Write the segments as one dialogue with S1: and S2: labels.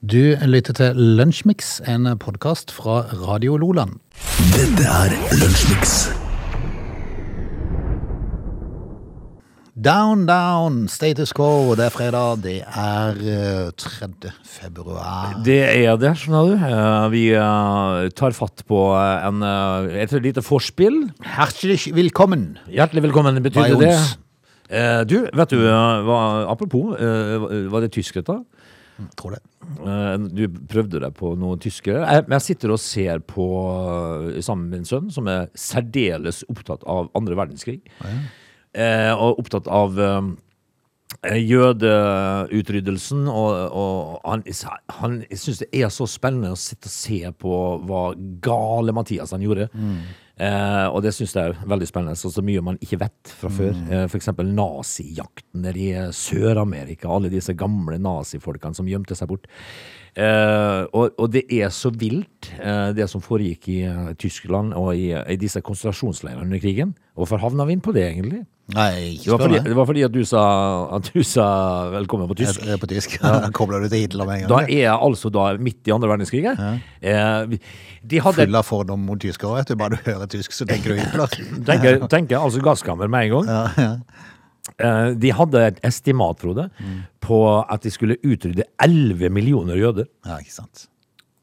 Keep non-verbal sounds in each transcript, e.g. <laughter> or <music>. S1: Du lytter til Lunsjmix, en podkast fra Radio Loland.
S2: Dette er Lunsjmix.
S1: Down, down, status quo. Det er fredag. Det er eh, 3. februar.
S3: Det er det, skjønner du. Eh, Vi eh, tar fatt på eh, en, eh, et lite forspill.
S1: Hjertelig velkommen.
S3: Hjertelig velkommen, betyr
S1: Bayons.
S3: det. Eh, Du, vet du, eh, hva, apropos, eh, var det tysk dette?
S1: Tror det.
S3: Eh, Du prøvde deg på noen tyskere. Jeg- Men jeg sitter og ser på eh, sammen med min sønn, som er særdeles opptatt av andre verdenskrig. Eh, Og opptatt av eh, jødeutryddelsen. Og, og han, han syns det er så spennende å sitte og se på hva gale Mathias han gjorde. Eh, og det syns jeg er veldig spennende. Så, så mye man ikke vet fra før. Eh, for eksempel nazijakten nede i eh, Sør-Amerika. Alle disse gamle nazifolkene som gjemte seg bort. Eh, og, og det er så vilt, eh, det som foregikk i eh, Tyskland og i, eh, i disse konsentrasjonsleirene under krigen. Hvorfor havna vi inn på det, egentlig?
S1: Nei, ikke
S3: Det var
S1: spør
S3: fordi,
S1: meg.
S3: det var fordi at, du sa, at du sa velkommen på tysk.
S1: Jeg er på tysk. <laughs> Da Kobler du til Hitler med en
S3: Da
S1: gang?
S3: er jeg altså da midt i andre verdenskrig. jeg. Eh, vi- de hadde
S1: Full av fordom mot tyskere. vet du. Bare du hører tysk, så tenker du Hitler.
S3: tenker, tenker altså gasskammer med en gang. Eh, De hadde et estimat, Frode, på at de skulle utrydde 11 millioner jøder.
S1: <laughs> Ja, ikke sant.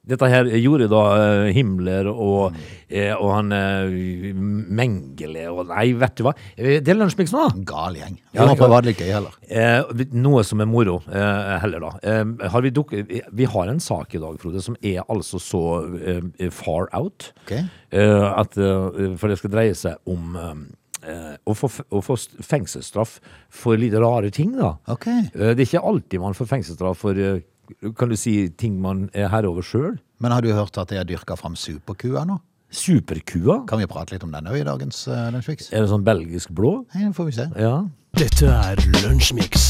S3: Dette her gjorde da eh, Himmler og, eh, og han eh, Mengele og Nei, vet du hva. Eh, Det er lunsjmix nå.
S1: Gal gjeng. Vi
S3: Ja,
S1: må
S3: det
S1: prøve å
S3: var-
S1: ha det litt gøy heller.
S3: Eh, vi- noe som er moro, eh, heller da. Eh, har vi, duk vi- vi har en sak i dag, Frode, som er altså så eh, far out.
S1: Ok.
S3: Eh, at, eh, for det skal dreie seg om eh, å, få, f- å få s- fengselsstraff for litt rare ting, da.
S1: Ok.
S3: Eh, det er ikke alltid man får fengselsstraff for eh, kan du si, ting man er herre over sjøl.
S1: Men har du hørt at de har dyrka fram superkua nå?
S3: Superkua.
S1: Kan vi prate litt om den òg i dagens uh, Lunsjmix?
S3: Er det sånn belgisk blå?
S1: Nei, det får vi se.
S3: Ja.
S2: Dette er Lunsjmix.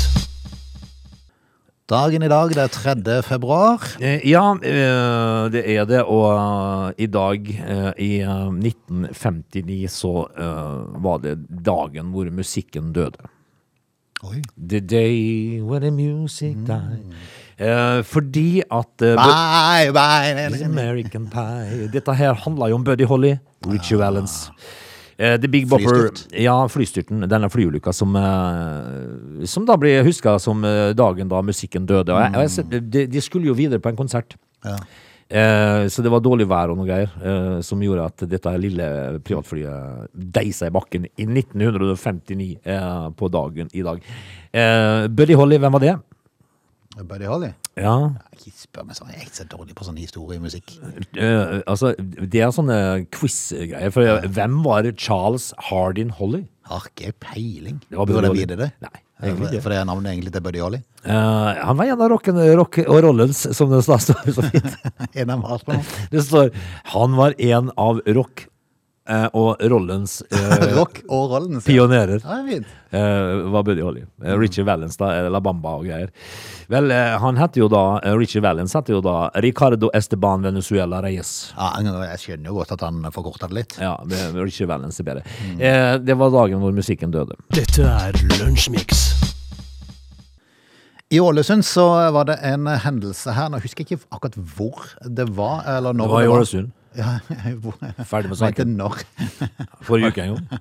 S1: Dagen i dag, det er 3. februar.
S3: Eh, Ja, eh, det er det. Og eh, i dag, eh, i eh, 1959, så eh, var det dagen hvor musikken døde.
S1: Oi.
S3: The day when the music died. Eh, fordi at eh,
S1: Bye,
S3: It's
S1: bye.
S3: American Pie Dette her handler jo om Buddy Holly, Richie Valens. Eh, The Big Bopper.
S1: Flystyrt.
S3: Ja, flystyrten. Denne flyulykka som, eh, som da ble huska som eh, dagen da musikken døde. Og jeg, og jeg, ser- de, de skulle jo videre på en konsert.
S1: Ja.
S3: Eh, så det var dårlig vær og noe greier eh, som gjorde at dette lille privatflyet deisa i bakken i 1959 eh, på dagen i dag. Eh, Buddy Holly, hvem var det?
S1: Buddy Holly?
S3: Ja,
S1: Ikke spør meg sånn, jeg er ikke så dårlig på sånn historiemusikk.
S3: Eh, altså, det er sånne quiz-greier. For eh, hvem var Charles Hardin Holly?
S1: Har ikke peiling.
S3: Det var Buddy
S1: Burde jeg
S3: Holly.
S1: vite det?
S3: Nei, egentlig
S1: For for det er navnet egentlig til Buddy Holly? <laughs>
S3: Eh, han var en av rocken, rock og rollens, som det står så fint. <laughs>
S1: En av Mars nå.
S3: Det står Han var en av rock eh, og rollens eh,
S1: Rock og rollen. sier jeg.
S3: pionerer.
S1: Ja, det er fint.
S3: Uh, var Buddy Holly. Eh, Richie Valens, da. eh, La Bamba og greier. Vel, eh, han heter jo da eh, Richie Valens heter jo da Ricardo Esteban Venezuela Reyes.
S1: Ja, jeg skjønner jo godt at han forkorter det litt.
S3: Ja, men Richie Valens er bedre. Eh, det var dagen hvor musikken døde.
S2: Dette er Lunsjmix.
S1: I Ålesund så var det en hendelse her, nå husker jeg ikke akkurat hvor det var, eller når
S3: Det var i Ålesund.
S1: Ja, hvor-
S3: Ferdig med
S1: Jeg mente
S3: saken.
S1: når.
S3: Forrige uke en gang.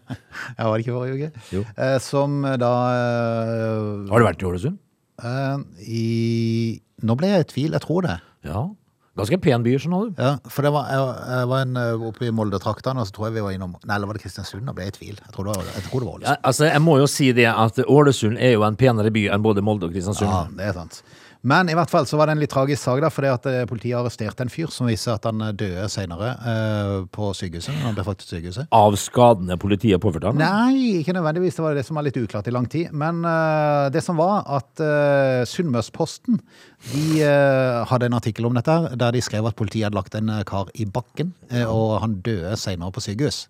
S1: Ja, var det ikke forrige uke?
S3: Jo.
S1: Eh, Som da eh,
S3: Har du vært i Ålesund?
S1: Eh, I Nå ble jeg i tvil, jeg tror det.
S3: Ja. Ganske pen by, skjønner du.
S1: Ja, for det var, jeg, jeg var en, eh, oppe i Molde-traktene, og så tror jeg vi var innom Nei, eller var det Kristiansund? Da ble jeg i tvil. Jeg tror det var, jeg tror det var Ålesund.
S3: Ja, altså, jeg må jo si det at Ålesund er jo en penere by enn både Molde og Kristiansund.
S1: Ja, det er sant. Men i hvert fall så var det en litt tragisk sak, da, fordi at eh, politiet arresterte en fyr som viser at han eh, døde senere eh, på sykehuset. når Han ble fraktet til sykehuset.
S3: Av skadene politiet påførte han.
S1: Nei, ikke nødvendigvis. Det var det som var litt uklart i lang tid. Men eh, det som var at uh, Sunnmørsposten de eh, hadde en artikkel om dette, her, der de skrev at politiet hadde lagt en eh, kar i bakken, eh, og han døde senere på sykehus.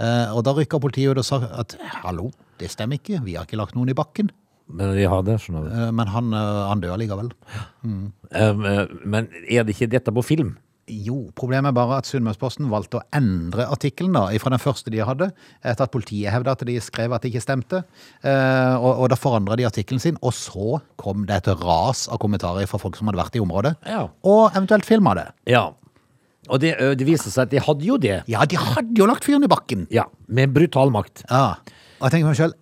S1: Eh, og da rykka politiet ut og sa at hallo, det stemmer ikke, vi har ikke lagt noen i bakken.
S3: Men de har det, skjønner du.
S1: Eh, men han, eh, han døde likevel.
S3: Eh, men er det ikke dette på film?
S1: Jo, problemet er bare at Sunnmørsposten valgte å endre artikkelen da, fra den første de hadde, etter at politiet hevda at de skrev at det ikke stemte. Eh, og, og da forandra de artikkelen sin, og så kom det et ras av kommentarer fra folk som hadde vært i området,
S3: Ja.
S1: og eventuelt filma det.
S3: Ja. Og det, ø, det viste seg at de hadde jo det.
S1: Ja, de hadde jo lagt fyren i bakken!
S3: Ja, Med brutal makt.
S1: Ja. Og jeg tenker meg sjøl,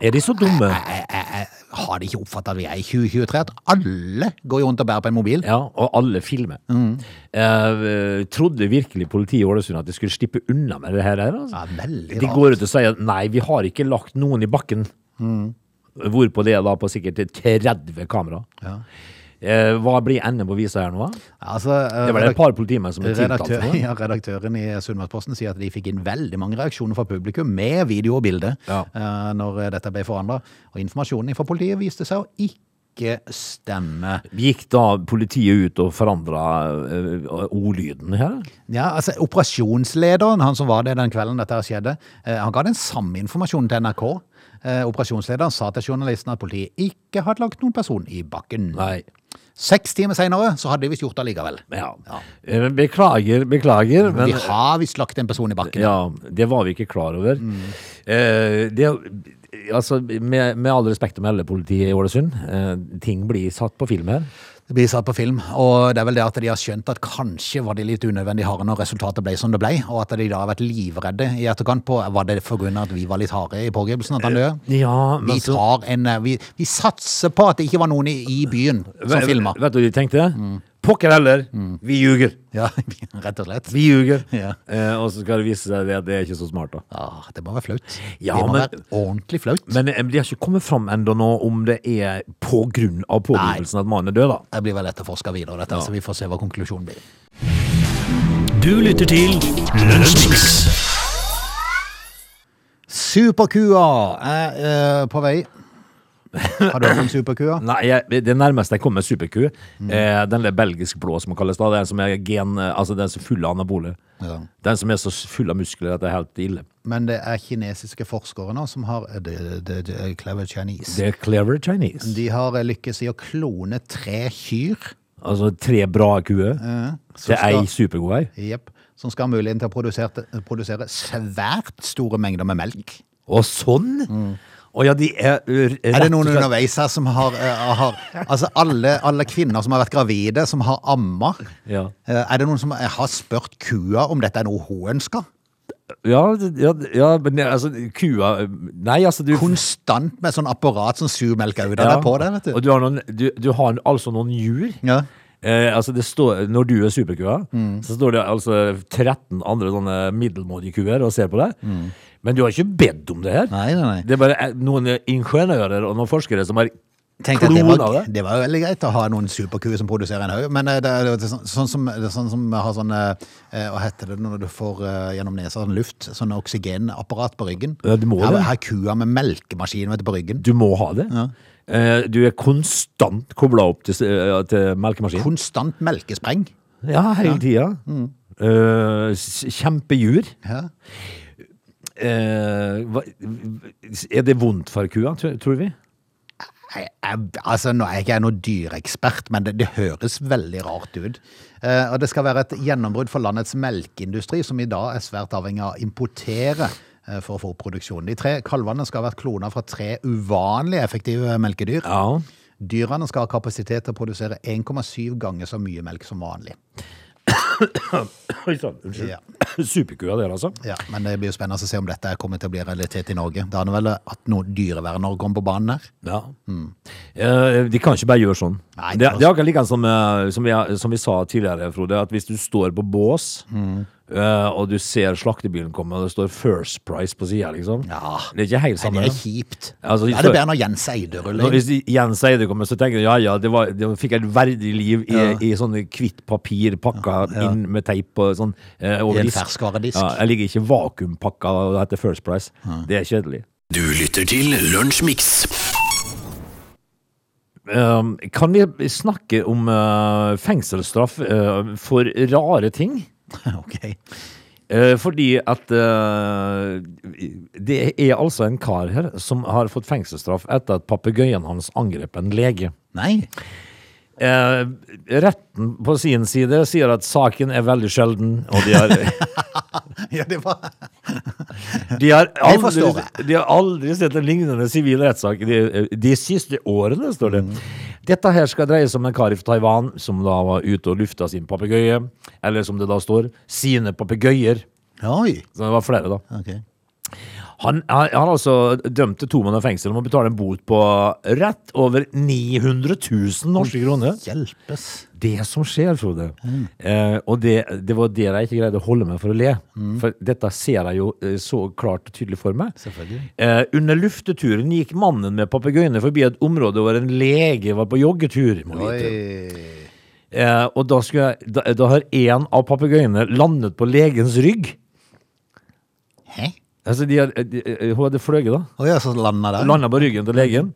S3: Er de så dumme?
S1: har de ikke oppfatta at vi er i 2023? At alle går jo rundt og bærer på en mobil?
S3: Ja, og alle filmer.
S1: Mm.
S3: Eh, trodde virkelig politiet i Ålesund at de skulle slippe unna med det her? her, Altså?
S1: Ja, veldig
S3: de
S1: rart. Mm.
S3: går ut og sier at nei, vi har ikke lagt noen i bakken. Hvorpå det er da på sikkert 30 kamera. Eh, hva blir enden på visa her nå? da?
S1: Altså, eh,
S3: Det var det et par politimenn som ble tiltalt
S1: Redaktør,
S3: for det.
S1: <laughs> ja, redaktøren i Sunnmørsposten sier at de fikk inn veldig mange reaksjoner fra publikum med video og bilde
S3: Ja.
S1: eh, når dette ble forandra. Og informasjonen fra politiet viste seg å ikke stemme.
S3: Gikk da politiet ut og forandra ordlyden her?
S1: Ja, altså Operasjonslederen, han som var det den kvelden dette her skjedde, eh, han ga den samme informasjonen til NRK. Eh, operasjonslederen sa til journalisten at politiet ikke hadde lagt noen person i bakken.
S3: Nei.
S1: Seks timer seinere så hadde de visst gjort det likevel.
S3: Ja. Eh, Beklager, beklager. Men,
S1: Vi har visst lagt en person i bakken.
S3: Ja, det var vi ikke klar over. Eh, det, altså, med, med all respekt å melde politiet i Ålesund, eh, ting blir satt på film her.
S1: Det blir satt på film, og det er vel det at de har skjønt at kanskje var de litt unødvendig harde når resultatet ble som det ble, og at de da har vært livredde i etterkant på var det for grunn av at vi var litt harde i pågripelsen at han døde.
S3: Eh, Ja,
S1: Vi tar en eh, vi, vi satser på at det ikke var noen i, i byen som filma.
S3: Vet du hva de tenkte? Pokker heller, vi ljuger.
S1: <laughs> Ja, rett og slett.
S3: Vi ljuger.
S1: Ja.
S3: Eh, og så skal det vise seg det at det er ikke så smart, da.
S1: Ah, det må være flaut.
S3: Ja,
S1: det må
S3: men-
S1: være ordentlig flaut.
S3: Men eh, de har ikke kommet fram ennå nå om det er på grunn av pågripelsen at mannen er død, da.
S1: Det blir vel etterforska videre, dette, så vi får se hva konklusjonen blir.
S2: Du lytter til Lunsjmix.
S1: Superkua er eh, på
S3: <laughs>
S1: vei. Har du hørt om superkua?
S3: Nei, jeg, det nærmeste jeg kom med superku,
S1: Mm.
S3: eh, den der belgisk blå som kalles da, den som er gen, eh, altså den som er full av anabole.
S1: Ja.
S3: Den som er så full av muskler at det er helt ille.
S1: Men det er kinesiske forskere nå som har eh, the, the, the Clever Chinese.
S3: Det er clever Chinese.
S1: De har eh, lykkes i å klone tre kyr
S3: Altså tre bra kuer.
S1: Eh,
S3: det er ei supergod ei.
S1: jep, som skal ha muligheten til å produsere, produsere svært store mengder med melk.
S3: Og sånn! Og ja, de er r-
S1: Mm. Er
S3: rett
S1: det
S3: og
S1: noen
S3: slett-
S1: underveis her som har, eh, har Altså alle, alle kvinner som har vært gravide, som har amma.
S3: Ja.
S1: eh, Er det noen som har spurt kua om dette er noe hun ønsker?
S3: Ja, det- ja, ja, men det- altså, kua Nei, altså, du
S1: Konstant med sånn apparat som suger melk ut av
S3: Ja.
S1: deg på deg, vet
S3: Og
S1: du.
S3: du har, noen, du, du har altså noen jur.
S1: Ja.
S3: Eh, altså det står, når du er superkua,
S1: Mm.
S3: så står det altså 13 andre sånne middelmådige kuer og ser på deg. Men du har ikke bedt om det her.
S1: Mm. Nei, nei, nei.
S3: Det er bare eh, noen ingeniører og noen forskere som har
S1: Tenk deg, det,
S3: Klona
S1: var,
S3: det.
S1: det var jo veldig greit å ha noen superkuer som produserer en haug, men eh, det er, jo sånn, sånn, som, det er sånn som har sånn eh, eh, Hva heter det når du får eh, gjennom nesa sånn luft? Sånn oksygenapparat på ryggen.
S3: Ja, du må
S1: her,
S3: det.
S1: her er kua med melkemaskin vet du, på ryggen.
S3: Du må ha det. Eh, du er konstant kobla opp til, s- eh, til melkemaskin.
S1: Konstant melkespreng.
S3: Ja, hele tida. Eh, s- kjempejur.
S1: Mm. Ja.
S3: Eh, hva, er det vondt for kua, tror, tror vi?
S1: Jeg, jeg, altså, nå er jeg ikke jeg noen dyreekspert, men det, det høres veldig rart ut. Eh, og det skal være et gjennombrudd for landets melkeindustri, som i dag er svært avhengig av å importere eh, for å få opp produksjonen. De tre kalvene skal ha vært klona fra tre uvanlig effektive melkedyr.
S3: Ja.
S1: Dyrene skal ha kapasitet til å produsere 1,7 ganger så mye melk som vanlig.
S3: Oi sann, unnskyld.
S1: Ja. <coughs>
S3: Superkua der, altså.
S1: Ja, men det blir jo spennende å se om dette kommer til å bli realitet i Norge. Da er det vel at noen dyreverner kommer på banen her.
S3: Ja. Eh, de kan ikke bare gjøre sånn.
S1: Nei,
S3: det,
S1: altså.
S3: det er akkurat like som, eh, som, vi, som vi sa tidligere, Frode, at hvis du står på bås,
S1: Mm.
S3: eh, og du ser slaktebilen komme, og det står First Price på sida, liksom.
S1: Ja.
S3: Det er ikke helt
S1: Nei,
S3: samme.
S1: det er kjipt.
S3: Altså,
S1: Da er det bedre når Jens Eide
S3: Når-
S1: ruller inn.
S3: Hvis de- Jens Eide kommer, så tenker du ja ja, det, var, det fikk et verdig liv i, i sånne hvitt papir pakka inn med teip og sånn. eh, over
S1: I en
S3: disk.
S1: ferskvaredisk.
S3: Ja, jeg ligger ikke vakuumpakka og heter First Price. Det er kjedelig.
S2: Du lytter til Lunsjmix.
S3: Um, kan vi snakke om uh, fengselsstraff uh, for rare ting?
S1: <laughs> Ok.
S3: Uh, fordi at uh, det er altså en kar her som har fått fengselsstraff etter at papegøyen hans angrep en lege.
S1: Nei.
S3: Eh, retten på sin side sier at saken er veldig sjelden, og de har,
S1: <laughs> Ja, det var
S3: de har, aldri,
S1: forstår
S3: de har aldri sett en lignende sivil rettssak de, de siste årene, står det. Dette her skal dreie seg om en kar i Taiwan som da var ute og lufta sin papegøye, eller som det da står, sine papegøyer.
S1: Oi.
S3: Så det var flere, da.
S1: Ok.
S3: Han, han, han er altså dømt til to måneder fengsel og må betale en bot på rett over 900 000 norske kroner.
S1: Hjelpes.
S3: Det som skjer, Frode, eh, og det, det var det jeg ikke greide å holde meg for å le, for dette ser jeg jo eh, så klart og tydelig for meg.
S1: Selvfølgelig.
S3: Eh, under lufteturen gikk mannen med papegøyene forbi et område hvor en lege var på joggetur. Må vite.
S1: Oi.
S3: Eh, og da, skulle jeg, da, da har en av papegøyene landet på legens rygg.
S1: Hæ?
S3: Altså, de, har- de, hun hadde fløyet, da.
S1: Å ja, så landa altså, der.
S3: Landa på ryggen til legen.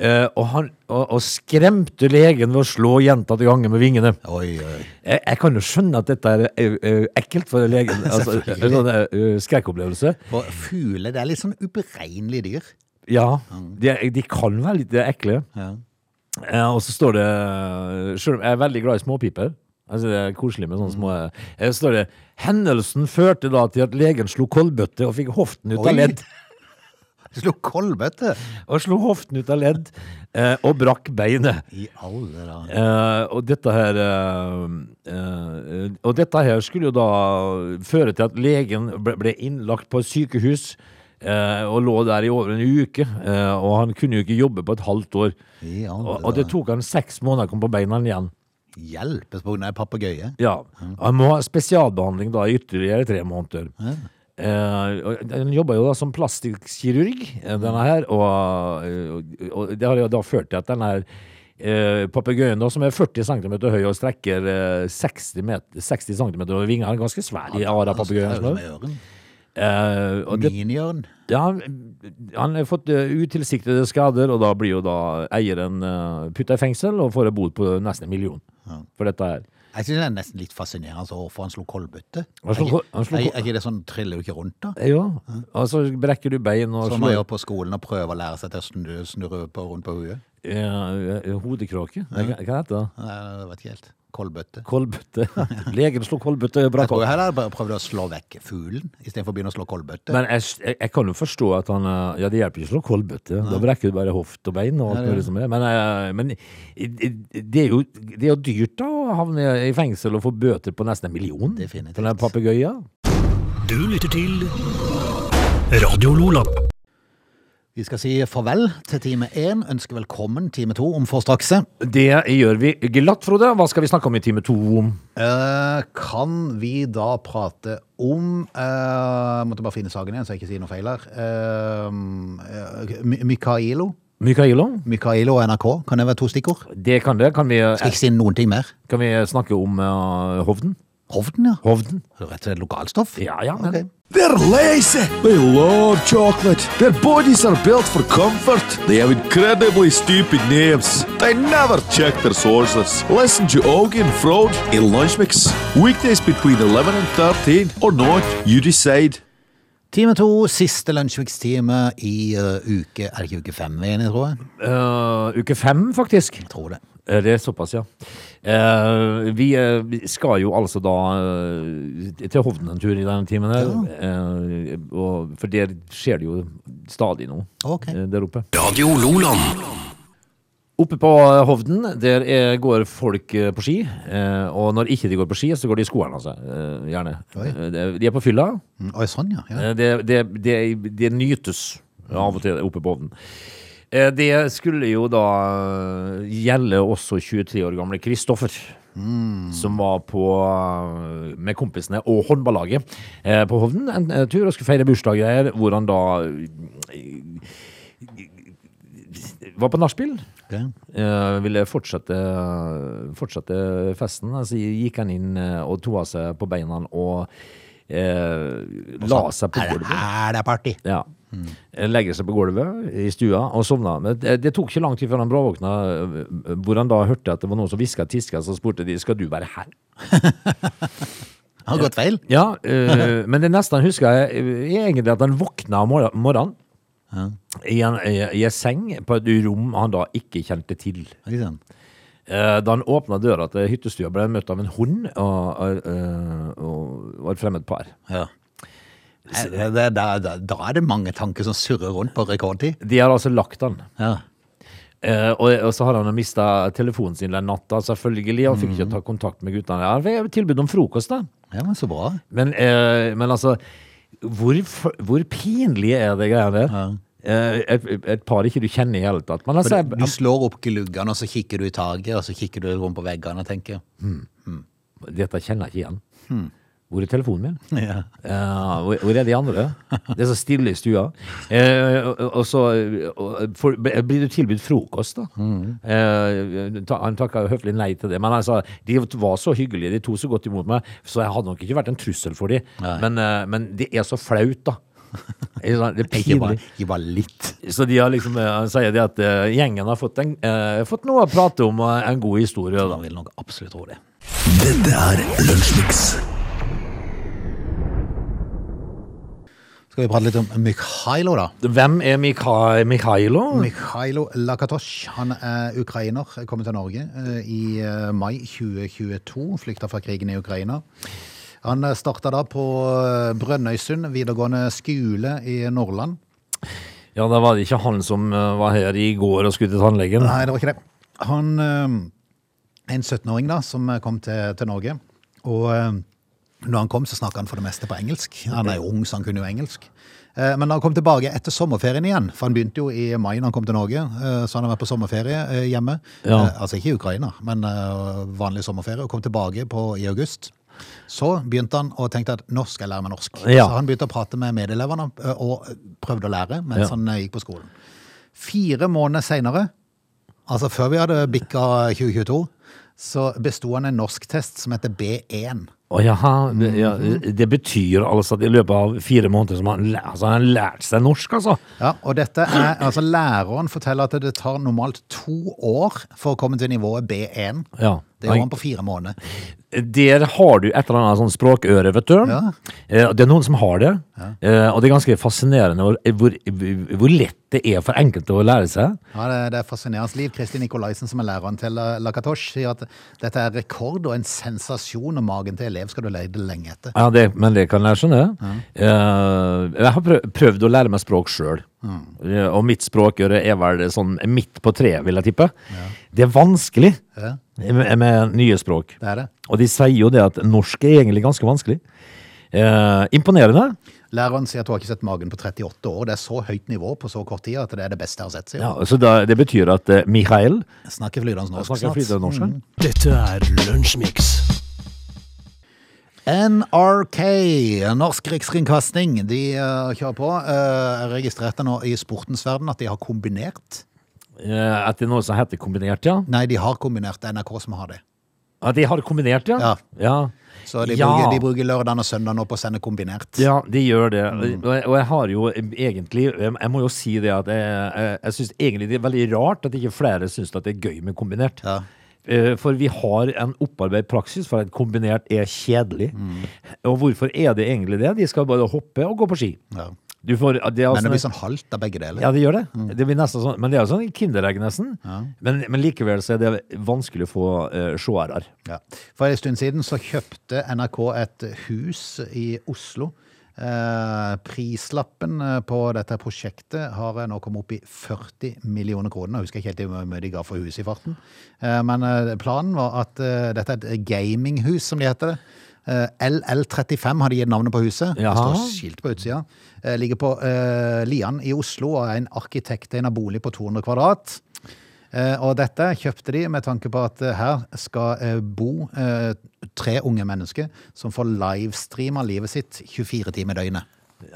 S3: eh, og, han, og, og skremte legen ved å slå gjentatte ganger med vingene.
S1: Oi, oi.
S3: Jeg, jeg kan jo skjønne at dette er eh, eh, ekkelt for legen. altså,
S1: Selvfølgelig.
S3: en sånn eh, skrekkopplevelse.
S1: For fugler, det er litt sånn uberegnelige dyr.
S3: Ja, de, er- de kan være litt ekle.
S1: Ja.
S3: Eh, og så står det eh, selv om Jeg er veldig glad i småpiper. Altså Det er koselig med sånne små eh, Så står det Hendelsen førte da til at legen slo koldbøtte og fikk hoften ut
S1: Oi.
S3: av
S1: <laughs>
S3: ledd.
S1: Slo kolbøtte.
S3: Og slo hoften ut av ledd eh, og brakk beinet.
S1: I alle dager.
S3: Eh, og dette her eh, eh, Og dette her skulle jo da føre til at legen ble, ble innlagt på et sykehus eh, og lå der i over en uke. eh, og han kunne jo ikke jobbe på et halvt år.
S1: I alle
S3: Og,
S1: dager.
S3: og det tok han seks måneder å komme på beina igjen.
S1: Hjelpes på grunn av en papegøye.
S3: Ja. Han må ha spesialbehandling da i ytterligere tre måneder. Eh, og han jobba jo da som plastikkirurg, eh, denne her, og, eh, og det har jo da ført til at denne her eh, papegøyen, da, som er 40 cm høy og strekker eh, 60, meter, 60 cm over vingene, er ganske svær i
S1: altså,
S3: ara-papegøyen. Eh, det,
S1: Miniørn.
S3: ja, han- han har fått eh, utilsiktede skader, og da blir jo da eieren eh, putta i fengsel og får en bot på nesten en million for dette her.
S1: Jeg synes det er nesten litt fascinerende altså, hvorfor han slo kolbøtte.
S3: Han slo
S1: Er
S3: kol-
S1: ikke-
S3: han slo
S1: er,
S3: kol-
S1: er ikke det sånn, triller du ikke rundt da?
S3: Ja, og så brekker du bein og
S1: Som man gjør på skolen og prøver å lære seg til å snu- snurre på, rundt på hodet.
S3: Ja, ja, hodekråke? Nei, Hva hva heter det?
S1: Nei, Jeg vet ikke helt. Kolbøtte.
S3: Kolbøtte.
S1: <laughs>
S3: Legen slo kolbøtte og
S1: Jeg
S3: brakk
S1: tror
S3: opp.
S1: heller jeg bare prøvde å slå vekk fuglen, i stedet for å begynne å slå kolbøtte.
S3: Men jeg, jeg, jeg kan jo forstå at han eh, Ja, det hjelper ikke å slå kolbøtte. Da brekker du bare hoft og bein og alt mulig som er. Men, eh, men i- i- det er, jo, det er jo dyrt, da, å havne i fengsel og få bøter på nesten en million
S1: Definitivt.
S3: for den papegøyen.
S2: Du lytter til Radio Lola.
S1: Vi skal si farvel til time 1, ønsker velkommen time 2 om for strakse.
S3: Det gjør vi glatt, Frode. Hva skal vi snakke om i time to?
S1: Eh, kan vi da prate om eh, Jeg måtte bare finne saken igjen, så jeg ikke sier noe feil her. Eh, eh, Mi- Mikaelo.
S3: Mikaelo?
S1: Mikaelo og NRK, kan det være to stikkord?
S3: Det kan det. Kan vi, eh,
S1: Skal ikke si noen ting mer.
S3: kan vi snakke om eh, Hovden?
S1: Hovden, ja.
S3: Hovden?
S1: Rett og slett lokalstoff?
S3: Ja, ja, men
S1: Ok.
S4: They're lazy. They love chocolate. Their bodies are built for comfort. They have incredibly stupid names. They never check their sources. Listen to Augie and Frode in Lunch Mix. Weekdays between 11 and 13 or not, you decide.
S1: Time to, siste lunsjvikstime i eh, uke Er det ikke uke fem vi er inne i, tror jeg?
S3: eh, uke fem, faktisk.
S1: Jeg tror det.
S3: Eh, Det er såpass, ja. Eh, vi eh, vi skal jo altså da eh, til Hovden en tur i denne timen her. Eh, og, for der skjer det jo stadig noe
S1: Ok.
S3: eh, der oppe.
S2: Radio Loland.
S3: Oppe på eh, Hovden, der er, går folk eh, på ski. eh, og når ikke de går på ski, så går de i skoene, altså. eh, gjerne.
S1: Oi.
S3: Eh, det- de er på fylla.
S1: Mm, Oi, sånn, ja. ja.
S3: Eh, Det, det, det, det nytes av og til oppe på ovnen. Eh, Det skulle jo da eh, gjelde også 23 år gamle Kristoffer. Som var på, eh, med kompisene og håndballaget eh, på Hovden en eh, tur og skulle feire bursdag der, hvor han da eh, var på nachspiel.
S1: Ok.
S3: Eh, ville fortsette, fortsette festen. Altså, gikk han inn eh, og toa seg på beina og eh, la seg på
S1: Er det,
S3: gulvet.
S1: er det party?
S3: Ja. Eh, Legger seg på gulvet i stua og sovna. Men det, det tok ikke lang tid før han bråvåkna, eh, hvor han da hørte at det var noen som hviska tiska, så spurte de skal du være her.
S1: Har gått feil?
S3: Ja, eh, men det neste han husker er eh, er egentlig at han våkna om morgen- morgenen i en, i, i en seng på et rom han da ikke kjente til.
S1: Ikke sant?
S3: Eh, Eh, Da han åpna døra til hyttestua, ble han møtt av en hund og, eh, og var et fremmed par.
S1: Ja. Eh, det- Da, da, da er det mange tanker som surrer rundt på rekordtid.
S3: De har altså lagt han.
S1: Ja.
S3: Eh, og, og så har han mista telefonen sin den natta, selvfølgelig. Han fikk ikke ta kontakt med guttene. Han fikk tilbud om frokost, da.
S1: ja, men så bra.
S3: Men, eh, men altså hvor, f- hvor pinlig er det greia der? Eh, et, et par ikke du kjenner i hele tatt. Men altså,
S1: Du slår opp gluggene, og så kikker du i taket, og så kikker du rundt på veggene, tenker jeg.
S3: jeg- dette kjenner jeg ikke igjen. Hvor er telefonen min?
S1: Ja.
S3: Eh, hvor, hvor er de andre? Det er så stille i stua. Eh, og, og så og, får- blir du tilbudt frokost, da.
S1: Mm.
S3: Eh, ta, han takka jo høflig nei til det. Men altså, de var så hyggelige, de to så godt imot meg, så jeg hadde nok ikke vært en trussel for de.
S1: Nei.
S3: Men, eh, men det er så flaut, da. Det er sånn- det er
S1: <laughs> Ikke bare,
S3: pinlig.
S1: ikke bare litt.
S3: Så de har liksom, eh, han sier det at eh, gjengen har fått, en, eh, fått noe å prate om og en god historie. Da.
S1: Man vil nok absolutt tro det.
S2: Dette er Lunsjmix.
S1: Skal vi prate litt om Mikhailo, da?
S3: Hvem er Mikha Mikhailo?
S1: Mikhailo Lakatosh, han er ukrainer, kom til Norge eh, i eh, mai 2022, flykta fra krigen i Ukraina. Han eh, starta da på eh, Brønnøysund videregående skole i Nordland.
S3: ja, da var det ikke han som eh, var her i går og skulle til tannlegen.
S1: Nei, det var ikke det. Han eh, er en 17-åring da, som eh, kom til, til Norge. Og eh, når han kom, så snakka han for det meste på engelsk. Han er jo ung, så han kunne jo engelsk. Eh, Men han kom tilbake etter sommerferien igjen, for han begynte jo i mai når han kom til Norge. eh, Så han har vært på sommerferie eh, hjemme.
S3: Ja.
S1: Eh, Altså ikke i Ukraina, men eh, vanlig sommerferie. Og kom tilbake på, i august. Så begynte han og tenkte at nå skal jeg lære meg norsk.
S3: Ja.
S1: Så han begynte å prate med medelevene eh, og prøvde å lære mens
S3: Ja.
S1: han eh, gikk på skolen. Fire måneder seinere, altså før vi hadde bikka 2022, så besto han en norsktest som heter B1.
S3: Å, jaha, det, ja,
S1: Mhm.
S3: det betyr altså at i løpet av fire måneder så har han, læ- altså, han har lært seg norsk, altså.
S1: Ja, og dette er, altså Læreren forteller at det tar normalt to år for å komme til nivået B1.
S3: Ja.
S1: Det gjorde han på fire måneder.
S3: Der har du et eller annet sånn språkøre, vet du.
S1: Ja.
S3: Eh, Det er noen som har det, eh, og det er ganske fascinerende hvor, hvor, hvor lett det er for enkelte å lære seg.
S1: Ja, det, det er fascinerende liv. Kristin Nikolaisen, som er læreren til eh, Lakatosh, sier at dette er rekord og en sensasjon, og magen til elev skal du lete lenge etter.
S3: Ja, det, men det kan jeg skjønne. Eh, jeg har prøv, prøvd å lære meg språk sjøl.
S1: Mm.
S3: og mitt språkøre er vel sånn midt på treet, vil jeg tippe. Det er vanskelig
S1: Ja.
S3: med, med nye språk.
S1: Det er det.
S3: Og de sier jo det at norsk er egentlig ganske vanskelig. Eh, imponerende.
S1: Læreren sier at hun har ikke sett magen på 38 år. Det er så høyt nivå på så kort tid at det er det beste jeg har sett. sier hun.
S3: Ja, så da, det betyr at eh, Mikhail
S1: Snakker flytende norsk
S3: snakker flytende norsk. han.
S2: Dette er Lunsjmix.
S1: NRK, Norsk Rikskringkasting, de eh, kjører på. Eh, Jeg registrerte nå i sportens verden at de har kombinert.
S3: Eh, at det er noe som heter kombinert, ja.
S1: Nei, de har kombinert det er NRK som har det.
S3: At de har kombinert, ja.
S1: Ja.
S3: ja.
S1: Så de,
S3: Ja.
S1: bruker, de bruker lørdagen og søndagen nå på å sende kombinert.
S3: Ja, de gjør det. Og jeg- Og jeg har jo egentlig Jeg må jo si det at jeg, jeg, jeg syns egentlig det er veldig rart at ikke flere syns at det er gøy med kombinert.
S1: Ja.
S3: Eh, For vi har en opparbeidet praksis for at kombinert er kjedelig. Og hvorfor er det egentlig det? De skal bare hoppe og gå på ski.
S1: Ja.
S3: Du får, det er altså-
S1: Men det blir sånn halvt av begge deler.
S3: Ja, det gjør det. det blir nesten sånn, men det er jo sånn kinderegg, nesten. Men, men likevel så er det vanskelig å få uh, seere.
S1: Ja. For en stund siden så kjøpte NRK et hus i Oslo. Eh, prislappen eh, på dette prosjektet har eh, nå kommet opp i 40 millioner kroner. Jeg husker ikke helt hvor mye de ga for huset i farten. Eh, men eh, planen var at eh, dette er et gaminghus, som de heter det. Eh, LL35 har de gitt navnet på huset.
S3: Jaha.
S1: Det står skilt på utsida. Eh, ligger på eh, Lian i Oslo og er en arkitekttegnet bolig på 200 kvadrat. Eh, Og dette kjøpte de med tanke på at eh, her skal eh, bo eh, tre unge mennesker som får livestreama livet sitt 24 timer i døgnet.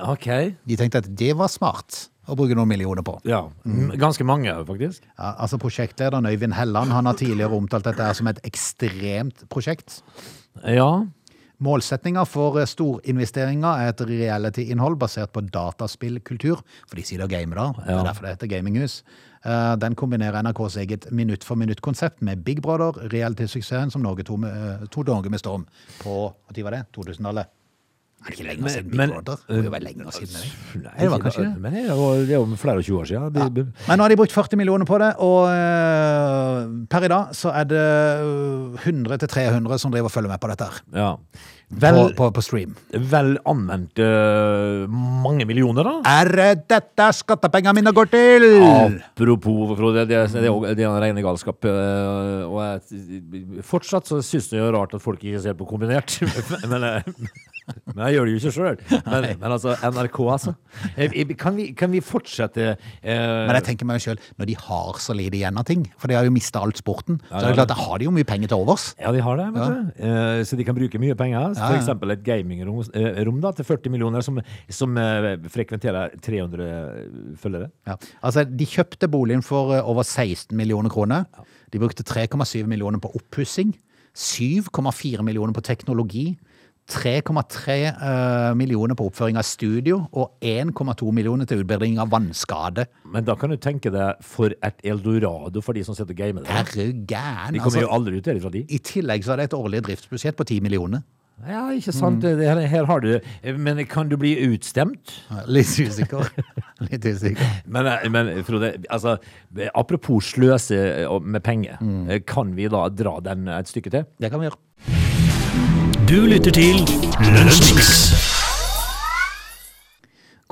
S3: Ok.
S1: De tenkte at det var smart å bruke noen millioner på.
S3: Ja.
S1: Mm.
S3: Ganske mange, faktisk.
S1: Ja, altså Prosjektlederen Øyvind Helland han har tidligere omtalt dette her som et ekstremt prosjekt.
S3: Ja.
S1: Målsettinga for eh, storinvesteringer er et reality-innhold basert på dataspillkultur. For de sier det er game, da. Det
S3: Ja.
S1: er derfor det heter Gaminghus. Eh, Den kombinerer NRKs eget minutt-for-minutt-konsept med Big Brother, realitysuksessen som Norge tok med, eh, tok Norge med storm på hva tid var det? 2000-tallet. er ikke lenger siden
S3: Men-
S1: Big Brother. Det må jo være lenger siden. eller?
S3: Nei,
S1: det var
S3: ikke-
S1: kanskje det.
S3: Men det var, det var flere og 20 år siden. Det- det-
S1: Men nå har de brukt 40 millioner på det, og eh, per i dag så er det 100-300 som driver og følger med på dette her.
S3: Ja.
S1: På,
S3: Vel,
S1: på, på stream.
S3: vel anvendt eh, mange millioner, da.
S1: Er det dette skattepengene mine går til?
S3: Apropos, Frode, det, det, det, det er en rene galskap. eh, Og jeg, fortsatt så syns jeg det er rart at folk ikke ser på kombinert. <laughs> Men, eh, men jeg gjør det jo ikke sjøl. Men, men altså, NRK, altså. Eh, eh, Kan vi, kan vi fortsette eh,
S1: Men jeg tenker meg sjøl, når de har så lite igjen av ting, for de har jo mista alt sporten, så er
S3: ja,
S1: det klart, da har de jo mye penger til overs.
S3: Ja, de har det, vet
S1: Ja.
S3: du. Eh, så de kan bruke mye penger. Så
S1: Ja,
S3: For
S1: ja.
S3: eksempel et gamingrom eh, rom da, til 40 millioner, som, som eh, frekventerer 300 følgere.
S1: Ja. Altså, de kjøpte boligen for eh, over 16 millioner kroner. De brukte 3,7 millioner på oppussing, 7,4 millioner på teknologi, 3,3 eh, millioner på oppføring av studio og 1,2 millioner til utbedring av vannskade.
S3: Men da kan du tenke deg for et eldorado for de som sitter og gamer. der.
S1: Herre gæren!
S3: De
S1: Altså,
S3: kommer jo aldri ut derifra, de.
S1: I tillegg så er det et årlig driftsbudsjett på 10 millioner.
S3: Ja, ikke sant. Det Her, her har du Men kan du bli utstemt?
S1: Ja, Litt usikker. <laughs> Litt usikker.
S3: Men, eh, men Frode, altså, apropos sløse eh, og- med penger. eh, Kan vi da dra den et stykke til?
S1: Det kan vi gjøre.
S2: Du lytter til Lunsjmix.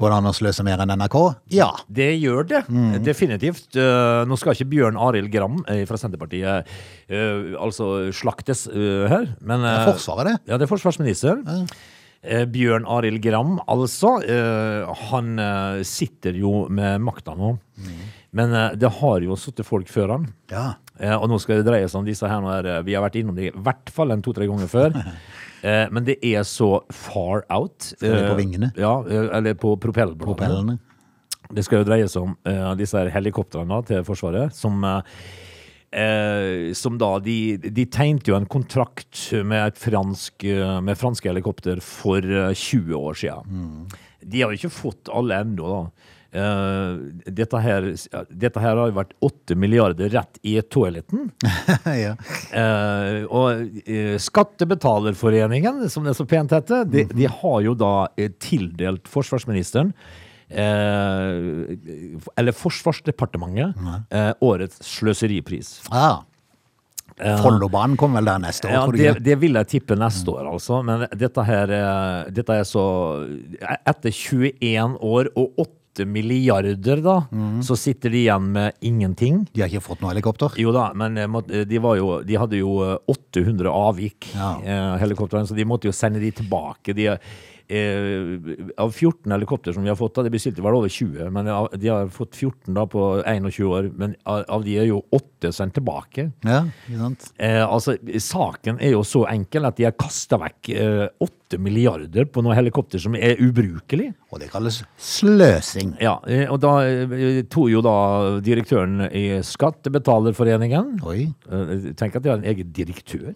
S1: Går det an å sløse mer enn NRK? Ja.
S3: Det gjør det, definitivt. Eh, nå skal ikke Bjørn Arild Gram eh, fra Senterpartiet eh, altså slaktes eh, her, men
S1: Det
S3: eh,
S1: er Forsvaret, det.
S3: Ja, det er forsvarsminister. Eh, Bjørn Arild Gram, altså. eh, han eh, sitter jo med makta nå.
S1: Mm.
S3: Men eh, det har jo sittet folk før han.
S1: Ja.
S3: Eh, og nå skal det dreie seg om disse her. nå er det- Vi har vært innom det i hvert fall en to-tre ganger
S1: <laughs>
S3: før. Eh, men det er så far out.
S1: det på
S3: Eh,
S1: vingene?
S3: Ja, eh, eller på propellbladene.
S1: Propellene.
S3: Det skal jo dreie seg om eh, disse her helikoptrene til Forsvaret, som eh, eh, som da, de, de tegnte jo en kontrakt med, et fransk, eh, med franske helikopter for eh, 20 år siden.
S1: Mm.
S3: De har jo ikke fått alle ennå, da. Eh, dette, her, dette her har jo vært 8 milliarder rett i toaletten.
S1: <laughs> ja.
S3: Eh, og eh, Skattebetalerforeningen, som det er så pent heter, de, de har jo da eh, tildelt forsvarsministeren eh, Eller Forsvarsdepartementet eh, årets sløseripris.
S1: Ah. Follobanen kommer vel der neste år,
S3: Ja,
S1: tror du
S3: det,
S1: ikke?
S3: det vil jeg tippe neste år, altså. Men dette her er, dette er så Etter 21 år og 8 milliarder, da, så sitter de igjen med ingenting.
S1: De har ikke fått noe helikopter?
S3: Jo da, men eh, må- eh, de, var jo, de hadde jo eh, 800 avvik,
S1: Ja.
S3: eh, helikoptrene, så de måtte jo sende de tilbake. De, eh, av 14 helikopter som vi har fått, da, de bestilte vel over 20, men av- de har fått 14 da på 21 år, men av, av de er jo 8 sendt tilbake.
S1: Ja, ikke sant?
S3: Eh, altså, saken er jo så enkel at de har kasta vekk eh, 8 milliarder på noen helikopter som er ubrukelig.
S1: Og det kalles sløsing.
S3: Ja, eh, og da eh, tok jo da direktøren i Skattebetalerforeningen
S1: Oi.
S3: Eh, Tenk at de har en egen direktør.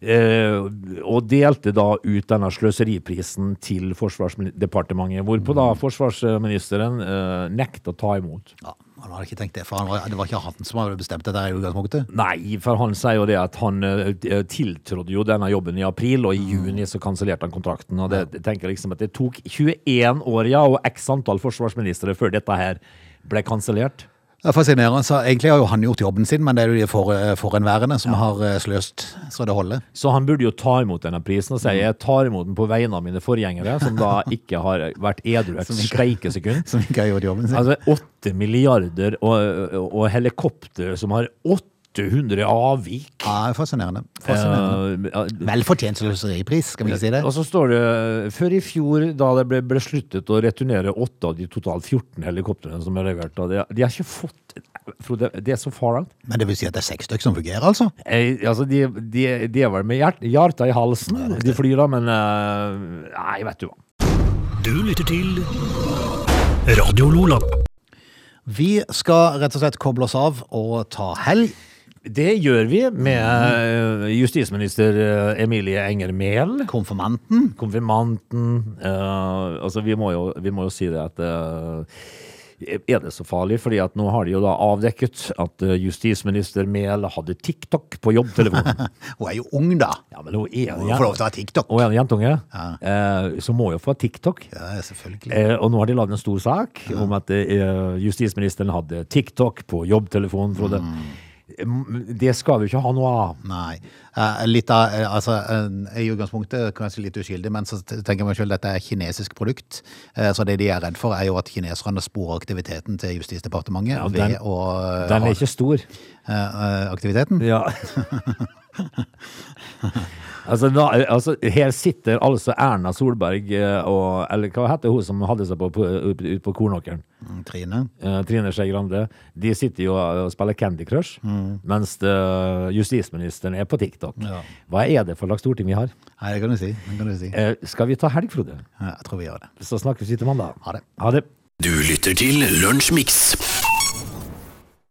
S3: Eh, og delte da ut denne sløseriprisen til Forsvarsdepartementet, hvorpå da forsvarsministeren eh, nekta å ta imot.
S1: Ja, han hadde ikke tenkt det, for han var, det var ikke han som hadde bestemt dette her i utgangspunktet.
S3: Nei, for han sier jo det at han eh, eh, tiltrådde jo denne jobben i april, og i juni så kansellerte han kontrakten. Og det, jeg tenker liksom at det tok 21 år, ja, og x antall forsvarsministre før dette her ble kansellert.
S1: Det er fascinerende. Så egentlig har jo han gjort jobben sin, men det er jo de for, eh, forhenværende som har eh, sløst så det holder.
S3: Så han burde jo ta imot denne prisen og si jeg tar imot den på vegne av mine forgjengere, som <laughs> da ikke har vært edru et <laughs> steikesekund.
S1: Som ikke har gjort jobben sin.
S3: Altså 8 milliarder og, og, og helikopter som har 800 avvik.
S1: Ja, det er fascinerende. fascinerende.
S3: Eh,
S1: Vel fortjent sløseripris, skal vi ikke si det?
S3: og så står det før i fjor, da det ble besluttet å returnere åtte av de totalt 14 helikoptrene som er levert, og de, de har ikke fått Frode, det er så far out.
S1: Men det vil si at det er seks stykker som fungerer, altså?
S3: Eh, altså, de, de, de er vel med hjert, hjertet i halsen, de flyr da, men eh, Nei, vet du hva.
S2: Du lytter til Radio Lola.
S1: Vi skal rett og slett koble oss av og ta helg.
S3: Det gjør vi med eh, justisminister eh, Emilie Enger Mehl,
S1: Konfirmanten.
S3: konfirmanten eh, Altså, vi må, jo, vi må jo si det at eh, Er det så farlig? Fordi at nå har de jo da avdekket at eh, justisminister Mehl hadde TikTok på
S1: <laughs>
S3: jobbtelefonen.
S1: Hun er jo ung, da.
S3: ja, men hun er
S1: Hun får lov til å ha TikTok.
S3: og en jentunge, eh, som må jo få TikTok.
S1: Ja, selvfølgelig.
S3: Eh, og nå har de lagd en stor sak om at eh, justisministeren hadde TikTok på jobbtelefonen. Frode. Mm. Det skal vi ikke ha noe av.
S1: Nei. Eh, Litt av, eh, altså, eh, I utgangspunktet kanskje litt uskyldig, men så t- tenker jeg meg selv dette er kinesisk produkt. Eh, Så det de er redd for, er jo at kineserne sporer aktiviteten til Justisdepartementet
S3: Ja,
S1: ved
S3: den-
S1: å eh,
S3: Den
S1: ha-
S3: er ikke stor.
S1: eh, eh, aktiviteten.
S3: Ja. altså, da, altså, her sitter altså Erna Solberg eh, og Eller hva heter hun som hadde seg på, på, ut ut på Kornåkeren?
S1: Mm, Trine.
S3: Eh, Trine Skei Grande. De sitter jo og spiller Candy Crush, mens eh, justisministeren er på TikTok.
S1: Mm. Ja.
S3: Hva er det for slags storting vi har?
S1: Nei, det kan du si. Det kan du si.
S3: Eh, skal vi ta helg, Frode?
S1: Ja, Jeg tror vi gjør det.
S3: Så snakkes vi til mandag.
S1: Ha det.
S3: Ha det.
S2: Du lytter til Lunsjmix.